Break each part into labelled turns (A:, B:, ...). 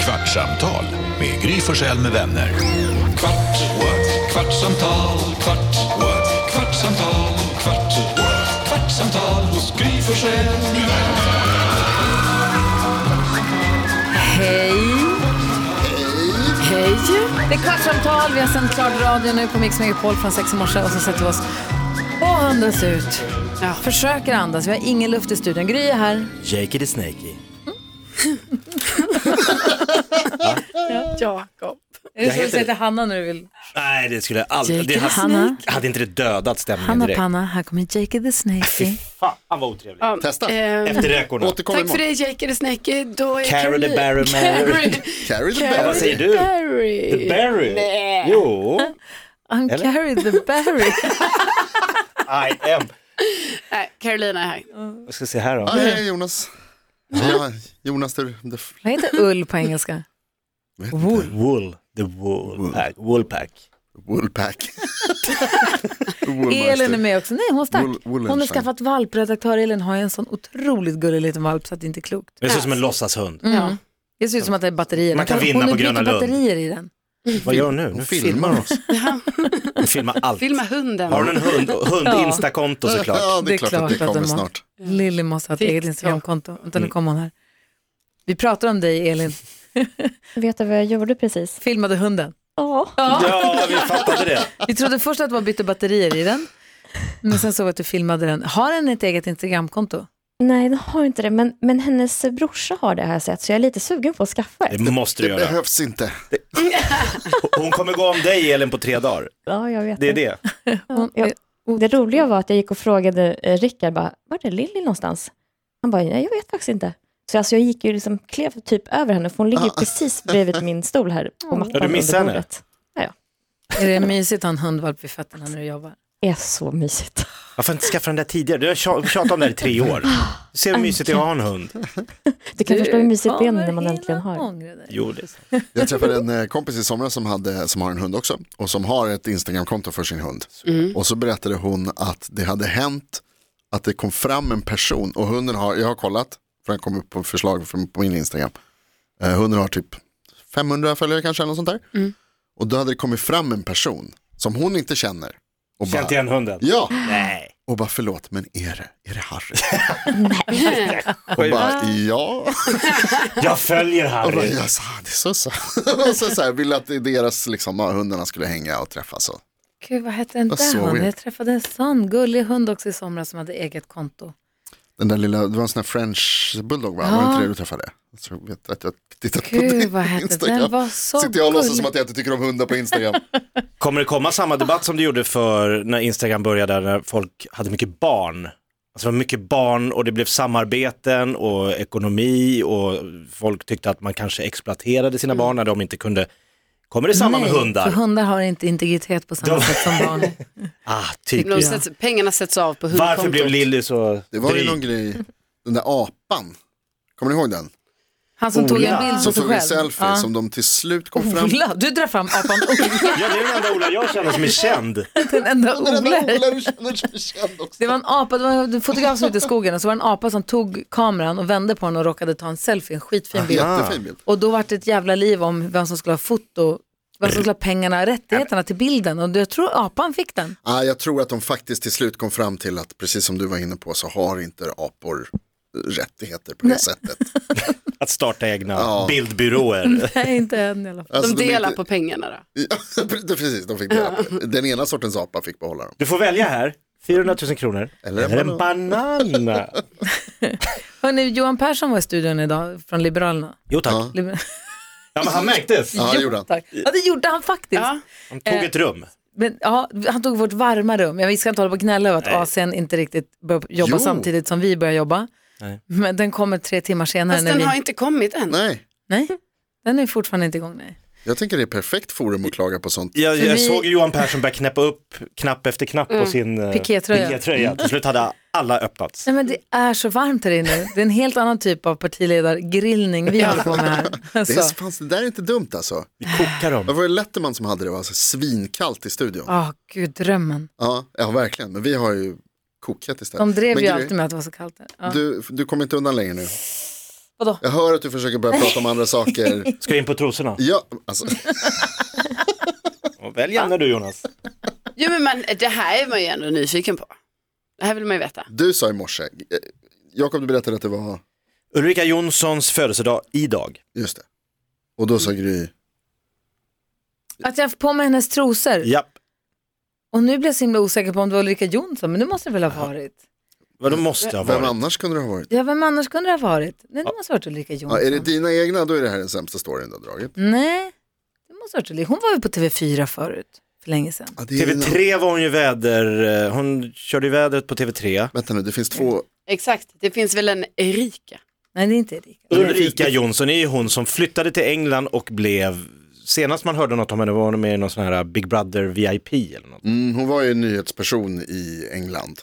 A: Kvartsamtal med Gry Forssell med vänner. Kvart, what? kvartsamtal, kvart, what? kvartsamtal, kvart, what? kvartsamtal hos Gry Forssell med vänner.
B: Hej! Hej! Det är Kvartsamtal, vi har sänt klart radion nu på Mix Megapol från sex i morse och så sätter vi oss och andas ut. Försöker andas, vi har ingen luft i studion. Gry är här.
C: Jakey the Snakey.
D: Jakob.
B: Är det så
C: heter
B: du säger till Hanna när du vill?
C: Nej, det skulle jag aldrig...
B: Jake
C: Det
B: the
C: hade,
B: Hanna.
C: hade inte det dödat stämningen
B: Hanna
C: direkt.
B: Panna, här kommer Jake the Snake.
C: Fan vad otrevlig.
E: Testa.
D: Ehm,
C: Efter räkorna.
E: Återkom
D: tack för
E: imorgon.
D: det Jake the Snake. Då är
C: Carol the
D: Caroline-
C: Barrymore.
D: Carrie-
E: Carry the
D: Carrie
E: bell.
C: Vad säger
D: the
C: du?
D: Barry.
C: The Barry. Jo.
B: I'm
C: Eller?
B: Carrie the Barry.
C: I am.
D: Nej, Carolina är här.
B: Mm.
C: Vad ska jag se här då?
E: Ah, hej Jonas. Ja, Jonas, du, du,
B: Vad heter ull på engelska?
C: Wool. Wool. The Woolpack. Woolpack.
E: Woolpack.
B: Elin är med också. Nej, hon stack.
E: Wool-
B: hon har
E: Wollenstein.
B: skaffat valp. Redaktör Elin har ju en sån otroligt gullig liten valp så att det inte är klokt.
C: Det ser ut som en låtsashund.
D: Ja.
B: Det ser ut som att det är batterier.
C: Man kan vinna
B: hon
C: på Gröna
B: Hon
C: Lund.
B: batterier i den.
C: Vad gör hon nu? Nu filmar hon oss. Hon filmar allt.
D: Filma hunden.
C: Har hon en hund, hund-instakonto såklart?
E: Ja, det är klart att det
B: de
E: kommer
B: har.
E: snart.
B: Lilly måste ha ett eget
D: TikTok.
B: Instagramkonto. Vänta, nu kommer hon här. Vi pratar om dig, Elin.
F: Vet du vad jag gjorde precis?
B: Filmade hunden.
F: Ja.
C: Ja, vi fattade det.
B: Vi trodde först att det var bytte batterier i den, men sen såg vi att du filmade den. Har den ett eget Instagramkonto?
F: Nej, den har inte det. Men, men hennes brorsa har det här sett, så jag är lite sugen på att skaffa ett.
C: Det måste du
E: Det
C: göra.
E: behövs inte.
C: Hon kommer gå om dig Elin på tre dagar.
F: Ja, jag vet
C: Det är det.
B: Hon,
F: Ja. Det roliga var att jag gick och frågade eh, Rickard, bara, var är Lilly någonstans? Han bara, nej, jag vet faktiskt inte. Så alltså, jag gick ju liksom, klev typ över henne, för hon ligger ju precis bredvid min stol här på
C: Ah.
F: mattan
C: Ja, du missade
F: under
C: henne.
F: bordet.
B: Är det mysigt att ha en hundvalp vid fötterna när du jobbar?
F: Det är så mysigt.
C: Varför inte skaffa den där tidigare? Du har tja- tjatat om det här i tre år. Du ser hur mysigt det är att ha en hund.
F: Du kan förstå hur mysigt det är
B: kommer
F: när man
B: hinna
F: äntligen har.
B: ångra dig.
C: Jo, det är sant.
E: Jag träffade en eh, kompis i somras som, hade, som har en hund också och som har ett Instagramkonto för sin hund. Och så berättade hon att det hade hänt att det kom fram en person och hunden har, jag har kollat, för den kom upp på förslag från- på min Instagram. Eh, hunden har typ 500 följare kanske eller något sånt där. Och då hade det kommit fram en person som hon inte känner. Och
C: Känt
E: bara,
C: igen hunden?
E: ja,
C: Nej.
E: och bara förlåt men är det, är det Harry? och bara ja.
C: Jag följer
E: Och bara,
C: Harry.
E: jag sa, det är Sussa. och så, så här, ville att deras, liksom, ja, hundarna skulle hänga och träffas. Och.
B: Gud, vad hette den
E: Vad
B: där
E: såg
B: hunden?
E: vi?
B: Jag träffade en sån gullig hund också i somras som hade eget konto.
E: Den där lilla, det var en sån här french bulldog va? Var det inte det du träffade? Jag tror vet att jag tittat på
B: Gud,
E: din
B: vad hette
E: Instagram.
B: den? Var så
E: Sitter jag och låtsas
B: gullig.
E: som att jag inte tycker om hundar på Instagram.
C: Kommer det komma samma debatt som det gjorde för när Instagram började, när folk hade mycket barn? Alltså det var mycket barn och det blev samarbeten och ekonomi och folk tyckte att man kanske exploaterade sina barn när de inte kunde. Kommer det samma
B: Nej,
C: med hundar?
B: För hundar har inte integritet på samma
C: De-
B: sätt som barn.
C: Ah,
D: De
C: typiskt.
D: sätts, pengarna sätts av på hundkontot.
C: Varför blev Lilly så
E: Det var ju
C: dryg?
E: någon grej, den där apan. Kommer ni ihåg den?
B: Han som tog en
C: Ola.
B: bild på
E: Som
B: sig
E: tog en
B: själv.
E: selfie
B: Ja.
E: som de till slut kom fram.
B: Ola, du drar fram apan Ola,
C: Ja, det är den enda Ola jag känner som är känd.
B: den enda
E: Den
B: Ola.
E: där Ola du känner som är känd också.
B: Det var en apa, det var en fotograf som var ute i skogen och så var det en apa som tog kameran och vände på den och råkade ta en selfie, en
E: Ah.
B: skitfin bild.
E: Jättefin bild.
B: Och då var det ett jävla liv om vem som skulle ha foto, vem som skulle ha pengarna, rättigheterna till bilden och jag tror apan fick den.
E: Ah, jag tror att de faktiskt till slut kom fram till att precis som du var inne på så har inte apor rättigheter på det sättet.
C: Att starta egna
E: Ja.
C: bildbyråer.
B: Nej, inte än i alla fall.
E: Alltså,
D: De delar
E: inte-
D: på pengarna då.
E: Ja, precis, de fick dela på det. Den ena sortens apa fick behålla dem.
C: Du får välja här, 400 000 kronor.
E: Eller en
C: Eller en banan.
B: Hörrni, Johan Persson var i studion idag från Liberalerna.
C: Jo tack.
E: Ja.
B: Liber-
C: Ja, men han märktes.
E: Ja, det gjorde han.
B: Tack. Ja, det gjorde han faktiskt.
D: Ja.
C: Han tog ett rum.
B: Men, ja, han tog vårt varma rum. Jag ska inte hålla på och gnälla över att AC'n inte riktigt börjar jobba
E: Jo.
B: samtidigt som vi börjar jobba.
C: Nej.
B: Men den kommer tre timmar senare.
D: Fast
B: När
D: den
B: vi...
D: har inte kommit än.
E: Nej,
B: Nej, den är fortfarande inte igång. Nej.
E: jag tänker det är perfekt forum att klaga på sånt.
C: Jag,
B: För
C: jag
B: vi-
C: såg ju Johan Persson börja knäppa upp knapp efter knapp på sin eh,
B: Pikétröja.
C: pikétröja. Till slut hade alla öppnats.
B: Nej, men det är så varmt här inne. Det är en helt annan typ av partiledargrillning vi håller på med här.
E: Det,
B: Alltså.
E: är, fanns, det där är inte dumt alltså.
C: Vi kokar
E: Det
C: dem.
E: var ju Letterman som hade det, var alltså svinkallt i studion.
B: Åh, gud, drömmen.
E: Ja, ja verkligen, men vi har ju kokhett istället.
B: De drev
E: men
B: ju
E: Gry,
B: alltid med att det var så kallt där. Ja.
E: Du, du kommer inte undan längre nu.
B: Vadå?
E: Jag hör att du försöker börja prata om andra saker.
C: Ska jag in på trosorna?
E: Ja, alltså,
C: Och Välj gärna du Jonas.
D: Jo men man, det här är man ju ändå nyfiken på. Det här vill man ju veta.
E: du sa i morse, eh, Jakob du berättade att det var,
C: Ulrika Jonssons födelsedag idag.
E: just det. Och då sa Gry,
B: Att jag får på mig hennes trosor.
C: Japp.
B: Och nu blir jag så himla osäker på om det var Ulrika Jonsson, men det måste det väl ha varit?
C: Vad de måste ha
E: vem
C: varit.
E: annars kunde det ha varit?
B: Ja, vem annars kunde det ha varit? Nej, det måste ha varit Ulrika Jonsson.
E: Ja, är det dina egna, då är det här den sämsta storyn du har dragit.
B: Nej, det måste ha varit Ulrika. Hon var ju på TV4 förut, för länge sedan.
E: Ja, det är dina-
C: TV3 var hon ju väder, eh, hon körde ju vädret på TV3.
E: Vänta nu, det finns två,
D: Exakt, det finns väl en Erika?
B: Nej, det är inte Erika.
C: Ulrika Jonsson är ju hon som flyttade till England och blev, senast man hörde något om henne var hon med i någon sån här Big Brother VIP eller något.
E: mm, hon var ju en nyhetsperson i England.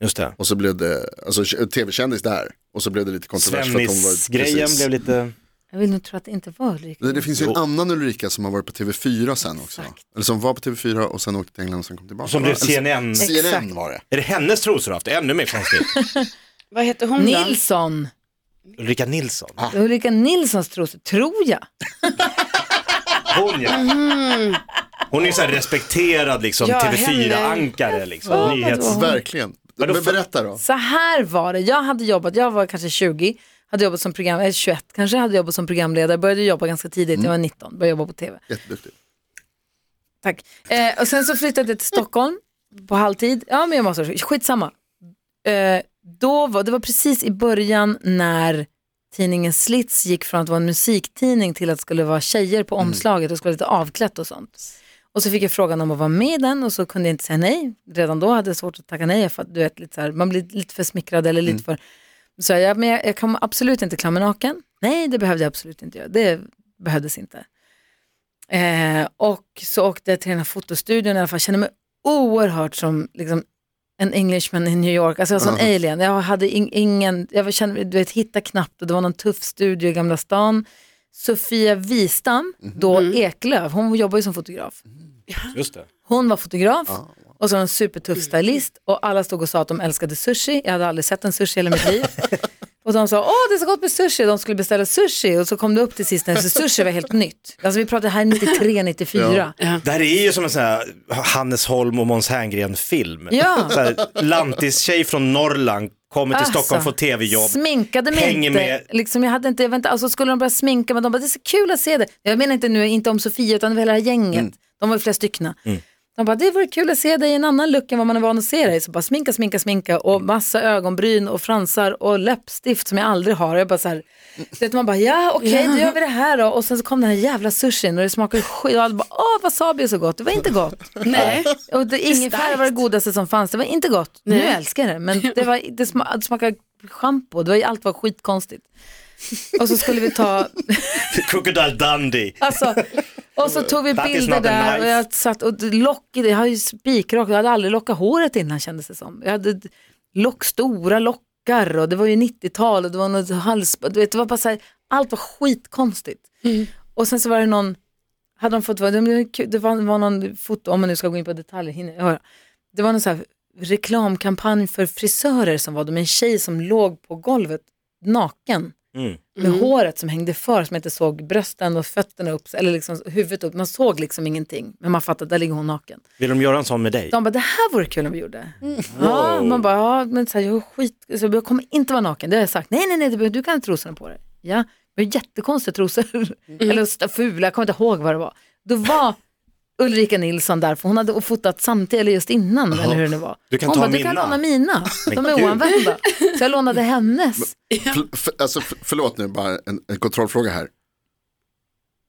C: Just det.
E: Och så blev det, alltså k- tv-kändis där. Och så blev det lite kontrovers för att hon var,
C: Svennis-grejen
E: precis.
C: blev lite...
B: Jag vill nog tro att det inte var Ulrika.
E: Det, det finns ju en
C: Jo.
E: annan Ulrika som har varit på TV4 sen också. Eller som var på TV4 och sen åkte till England och sen kom tillbaka.
C: Som blev
E: Eller-
C: CNN.
E: CNN
B: Exakt.
E: var det.
C: Är det hennes trosor du haft? Ännu mer konstigt.
D: Vad heter hon då?
B: Nilsson.
C: Ulrika Nilsson.
B: Det är Ulrika Nilssons trosor, tror jag.
C: Hon ja. Hon är ju så här respekterad liksom
D: Ja,
C: TV4-ankare liksom. Nyhets...
E: Verkligen.
C: Vadå
E: Men
C: för-
E: berätta då.
B: Så här var det, jag hade jobbat, jag var kanske 20, hade jobbat som program, eller 21 kanske, hade jobbat som programledare, började jobba ganska tidigt, jag var 19, började jobba på TV.
E: Jätteduktig.
B: Tack. Eh, och sen så flyttade jag till Stockholm på halvtid. Ja, men jag måste, skitsamma. Eh, då var, det var precis i början när tidningen Slits gick från att vara en musiktidning till att det skulle vara tjejer på omslaget och skulle vara lite avklätt och sånt. Och så fick jag frågan om att vara med i den och så kunde jag inte säga nej. Redan då hade jag svårt att tacka nej, för att, du vet, lite så här, man blir lite för smickrad eller lite för... Så jag, ja, men jag, jag kommer absolut inte klamma naken. Nej, det behövde jag absolut inte göra. Det behövdes inte. Eh, och så åkte jag till den här fotostudion i alla fall. Jag kände mig oerhört som liksom, en Englishman i New York. Alltså jag var som en alien. Jag hade in, ingen, jag kände, du vet, hitta knappt och det var någon tuff studio i Gamla stan. Sofia Wistam, då Eklöf, hon jobbar ju som fotograf.
C: Just det.
B: Hon var fotograf och så var hon en supertuff stylist och alla stod och sa att de älskade sushi. Jag hade aldrig sett en sushi i hela mitt liv. Och de sa, åh det är så gott med sushi, de skulle beställa sushi och så kom det upp till sist när så sushi var helt nytt. Alltså vi pratar här 93, 94. Ja.
C: Det här är ju som en sån här Hannes Holm och Måns Herngren-film.
B: Ja.
C: Så här, Lantistjej från Norrland kommer till
B: Alltså,
C: Stockholm, får tv-jobb.
B: Sminkade mig
C: Hänger
B: inte.
C: med.
B: Liksom, jag hade inte, jag var inte alltså, skulle de börja sminka mig, de bara, det är så kul att se det. Jag menar inte nu, inte om Sofia utan det var hela det här gänget. De var ju flera stycken. De bara, det vore kul att se dig i en annan look än vad man är van att se dig. Så bara sminka, sminka, sminka och massa ögonbryn och fransar och läppstift som jag aldrig har. Jag bara så här, så att man bara, ja okej då gör vi det här då. Och sen så kom den här jävla sushin och det smakade skit. Och alla bara, åh wasabi är så gott. Det var inte gott.
D: Nej.
B: Och det, ingefära var det godaste som fanns. Det var inte gott. Nu älskar jag det. Men det, var, det, sma, det smakade schampo. Det var, allt var skitkonstigt. Och så skulle vi ta,
C: Crocodile Dundee.
B: alltså, och så tog vi
C: That is
B: bilder
C: not a
B: där
C: knife.
B: och jag satt och lock, i det. jag har ju spikrak, jag hade aldrig lockat håret innan kändes det som. Jag hade lock, stora lockar och det var ju 90-tal och det var något hals, du vet, det var bara så här, allt var skitkonstigt. Och sen så var det någon, hade de fått vara, det var kul- det var, var någon foto, om man nu ska gå in på detaljer, hinner jag höra. Det var någon så här reklamkampanj för frisörer som var det med en tjej som låg på golvet naken.
C: Mm.
B: Med håret som hängde för, som inte såg brösten och fötterna upp, eller liksom huvudet upp. Man såg liksom ingenting, men man fattade, där ligger hon naken.
C: Vill de göra en sån med dig?
B: De bara, det här vore kul om vi gjorde. Ja, man bara, ja, men så här, jag, är skit, så jag kommer inte vara naken. Det har jag sagt. Nej, nej, nej, du, behöver- du kan ha trosorna på dig. Ja, men jättekonstiga trosor. Eller st- fula, jag kommer inte ihåg vad det var. Då var Ulrika Nilsson där, för hon hade fotat samtidigt, eller just innan, eller hur det nu var.
C: Du kan
B: hon
C: ta
B: bara, du
C: mina."
B: kan låna mina. De
C: Men
B: är
C: gud.
B: oanvända. Så jag lånade hennes.
E: För, för, alltså, för, förlåt nu, bara en, en kontrollfråga här.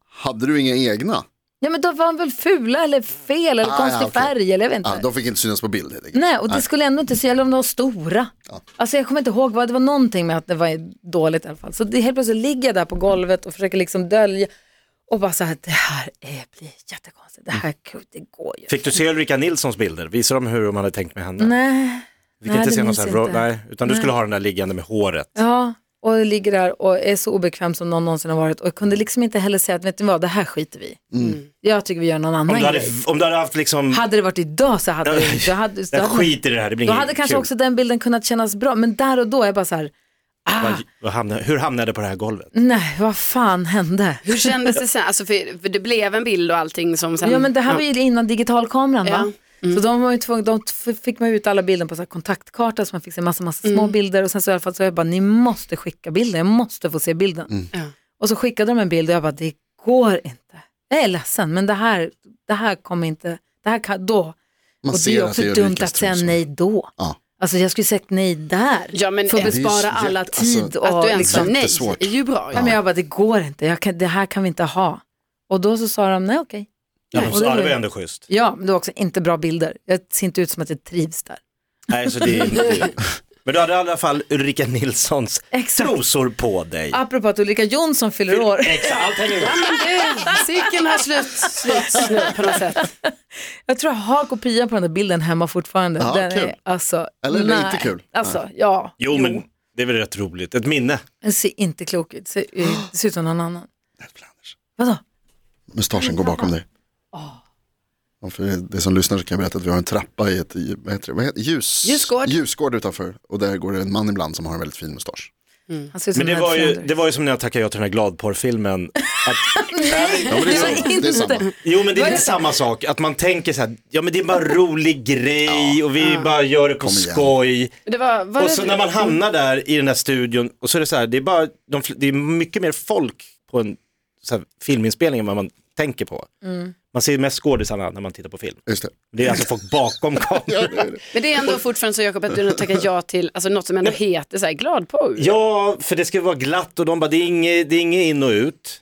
E: Hade du inga egna?
B: Ja, men då var hon väl fula eller fel eller
E: Ah,
B: konstig
E: ja, okej.
B: färg eller jag vet inte.
E: Ah, de fick inte synas på bild. helt enkelt.
B: Nej, och det skulle ändå inte så gälla om de var stora. Alltså jag kommer inte ihåg vad, det var någonting med att det var dåligt i alla fall. Så det, helt plötsligt ligger jag där på golvet och försöker liksom dölja och bara så här, det här är, blir jättekonstigt, det här
E: Mm.
B: det går ju.
C: Fick du se Ulrika Nilssons bilder? Visar de hur de hade tänkt med henne?
B: Nej,
C: Fick
B: Nej,
C: inte
B: det
C: se någon
B: minns
C: sån här,
B: jag
C: ro-
B: inte.
C: nej, utan du skulle ha den där liggande med håret.
B: ja, och jag ligger där och är så obekväm som någon någonsin har varit och jag kunde liksom inte heller säga att vet ni vad, det här skiter vi i.
E: Mm.
B: Jag tycker vi gör någon
C: Om
B: annan
C: du, hade,
B: grej.
C: om du hade haft liksom,
B: Hade det varit idag så hade det, då hade, då
C: jag
B: hade
C: skiter i det här, det blir
B: Då
C: inget
B: hade kanske
C: kul.
B: också den bilden kunnat kännas bra, men där och då är jag bara så här, ah,
C: Vad- vad hamnade, hur hamnade jag på det här golvet?
B: Nej, vad fan hände?
D: Hur kändes det sen? Alltså för, för det blev en bild och allting som sen... Mm.
B: Ja men det här var ju innan digitalkameran va? Så de, var ju tvungna, de f- fick man ut alla bilder på så här kontaktkarta så man fick se massa, massa
D: Mm.
B: små bilder och sen så i alla fall så jag bara, ni måste skicka bilden, jag måste få se bilden.
D: Ja.
B: Och så skickade de en bild och jag bara, det går inte. Jag är ledsen men det här, det här kommer inte, det här kan, då.
E: Man
B: och det
E: ser
B: är
E: att
B: också
E: det är
B: dumt
E: Ulrikas
B: att säga
E: trosor.
B: nej då.
E: Ja.
B: Alltså jag skulle sagt nej där.
D: Ja, men
B: för att
D: det är
E: ju
B: bespara
E: jätte-
B: alla
E: alltså,
B: tid. och
D: Att du ens sa
B: liksom,
D: nej
E: Jättesvårt.
D: är ju bra.
B: Nej,
D: Ja.
B: men jag bara, det går inte, jag kan, det här kan vi inte ha. Och då så sa de, nej okej.
C: Ja,
B: Nej.
C: så, ja, det var ju ändå schysst.
B: Ja, men det var också inte bra bilder. Jag ser inte ut som att jag trivs där.
C: Nej, så det är inte... Men du hade i alla fall Ulrika Nilssons
B: Exakt.
C: trosor på dig.
B: Apropå att Ulrika Jonsson fyller år.
C: Exakt, allt hänger ihop.
D: Men du, cirkeln har slut, slut nu på något sätt.
B: Jag tror jag har kopia på den där bilden hemma fortfarande.
E: Ja,
B: den
E: kul.
B: är, alltså,
E: Eller det är
B: nej.
E: inte kul.
B: Alltså, ja.
C: Jo, men det är väl rätt roligt. Ett minne.
B: Den ser inte klok ut. Ser, det ser ut som någon annan. Vadå?
E: Mustaschen går bakom dig. Ja, För det som lyssnar så kan jag berätta att vi har en trappa i ett vad heter det, vad heter, det? ljus,
D: Ljusgård.
E: ljusgård utanför. Och där går det en man ibland som har en väldigt fin mustasch.
B: Han ser ut som
C: Men det
B: Ned
C: var, ju,
B: Flanders.
C: det var ju som när jag tackade ja till den här gladporrfilmen. Att,
E: Ja, men det,
B: Det var
E: är, det är samma.
C: jo men det är lite samma sak, att man tänker så här, ja men det är bara en rolig grej och vi bara gör det på
E: igen.
C: skoj.
D: Det var, var
C: Och
D: det-
C: så när man hamnar där i den här studion och så är det så här, det är, bara, de, fl- det är mycket mer folk på en så här, filminspelning än vad man tänker på. Man ser ju mest skådisarna när man tittar på film.
E: Just det.
C: Det är alltså folk bakom kameran.
D: Men det är ändå fortfarande så Jakob att du tackar ja till alltså, något som ändå heter så här, glad på.
C: Ja, för det ska vara glatt och de bara, det är inget, det är inget in och ut.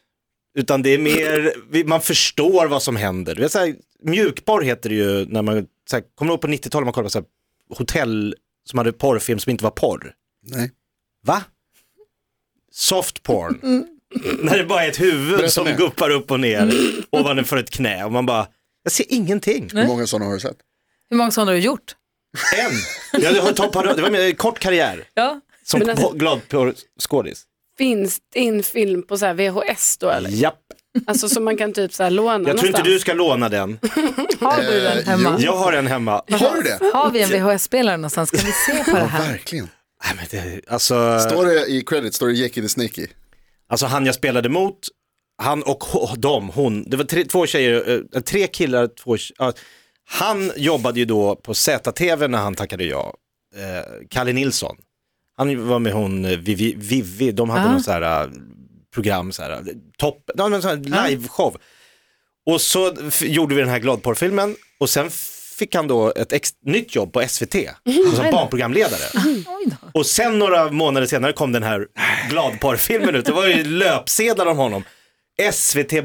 C: Utan det är mer, vi- man förstår vad som händer. Du vet, så här, mjukporr heter det ju när man, så här, kommer du ihåg på 90-talet man kollade på så här, hotell som hade porrfilm som inte var porr?
E: Nej.
C: Va? Soft porn.
D: Mm,
C: När det bara är ett huvud
E: Berätta
C: som
E: mer.
C: guppar upp och ner ovanför ett knä och man bara, jag ser ingenting.
E: Hur många sådana har du sett?
B: Hur många sådana har du gjort?
C: En. Jag har topp, det var en kort karriär
B: Ja.
C: som
D: Men alltså-
C: po- glad porrskådis.
D: Finns din film på så här VHS då eller?
C: Japp.
D: Alltså som man kan typ så här låna
C: Jag tror inte du
D: någonstans.
C: ska låna den.
B: Har du den
E: Eh,
B: hemma?
E: jo.
C: Jag har en hemma.
E: Har du det?
B: Har vi en VHS-spelare någonstans? Kan vi se på det
E: Ja,
B: här?
E: verkligen.
C: Nej, men det, alltså,
E: Står det i credit, står det Jackie the Sneaky?
C: alltså han jag spelade mot, han och ho- dem, hon, det var tre, två tjejer, eh, tre killar, två tje- ja. Han jobbade ju då på ZTV när han tackade ja, eh, Kalle Nilsson. Han var med hon eh, Vivi, Vivi de hade
B: Ah.
C: någon så här eh, program, så här, eh, topp, ja, men så här liveshow. Och så f- gjorde vi den här gladporrfilmen och sen fick han då ett ex- nytt jobb på SVT, som barnprogramledare.
B: Oj då.
C: Och sen några månader senare kom den här gladparfilmen ut. Det var ju löpsedlar om honom. SVT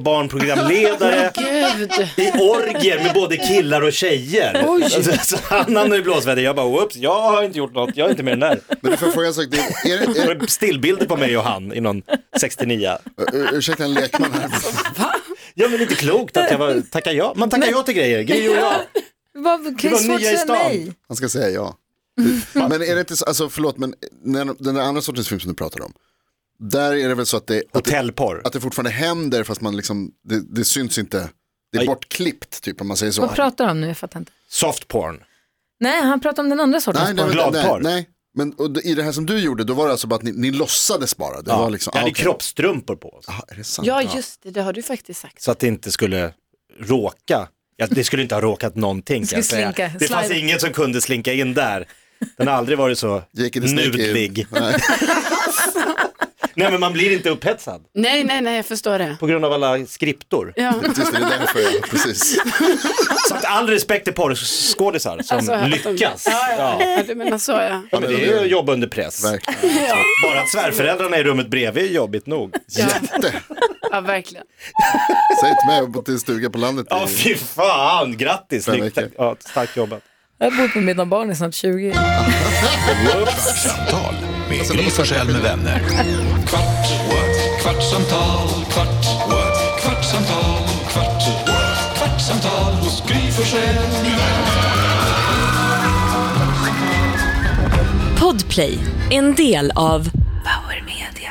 C: barnprogramledare
D: Gud,
C: i orgier med både killar och tjejer. Alltså, så han hamnade i blåsväder. Jag bara, oops, jag har inte gjort något, jag är inte med i den där.
E: Men du får jag fråga en sak, det är, är, det-
C: Det
E: är,
C: var Stillbilder på mig och han i någon 69.
E: ur- ursäkta en lekman här.
C: Ja men inte klokt att jag var, tackar ja. Man tackar ja till grejer, grejer gjorde jag.
B: Vad, kan
C: var
B: ju svårt att
C: nya i
B: säga
C: stan.
B: nej.
E: Han ska säga ja.
C: Mm.
E: Men är det inte så, alltså förlåt, men när, den där andra sortens film som du pratar om, där är det väl så att det, att det,
C: Hotellporr.
E: att det fortfarande händer fast man liksom, det, det syns inte, det är
C: Aj.
E: bortklippt typ om man säger så.
B: Vad pratar du om nu? Jag fattar inte.
C: Softporn.
B: Nej, han pratar om den andra sortens
E: nej, nej,
B: porr.
E: nej, nej,
C: Gladpar.
E: nej. Men och det- i det här som du gjorde, då var det alltså bara att ni, ni låtsades bara. Det var
C: Ja.
E: liksom,
C: Jag hade
E: ah, okej.
C: kroppstrumpor på oss.
E: Ah, är det sant?
D: ja just det, det har du faktiskt sagt.
C: så att det inte skulle råka. Ja, det skulle inte ha råkat någonting. kan jag
B: skulle
C: säga.
B: slinka,
C: det fanns
B: slide.
C: inget som kunde slinka in där. Den har aldrig varit så
E: Jake the Snake är-
C: nudlig.
E: Nej.
C: Nej men man blir inte upphetsad
D: Nej, nej, nej, jag förstår det.
C: på grund av alla skriptor.
D: Ja.
E: Just det, det är därför, ja, precis.
C: Så att all respekt till porrskådisar som
D: Alltså, att de-
C: lyckas.
D: Ja, ja,
C: Ja.
D: ja. du menar så ja.
C: Ja, men det är ju att jobba under press.
E: Verkligen.
C: Bara att svärföräldrarna är i rummet bredvid är jobbigt nog.
E: Jätte.
D: Ja, ververkligen.
E: Säg till mig, jag har bott i en stuga på landet.
C: Ja,
E: i-
C: fy fan, grattis.
E: Fem
C: Snyggt.
E: veckor.
C: Ja, starkt jobbat.
B: Jag har bott med mina barn i snart 20 år.
A: Kvartsamtal med Gry Forssell med vänner. Kvart, what? kvartsamtal, kvart, what? kvartsamtal, kvart, what? kvartsamtal hos Gry Forssell med vänner.
G: Podplay, en del av Power Media.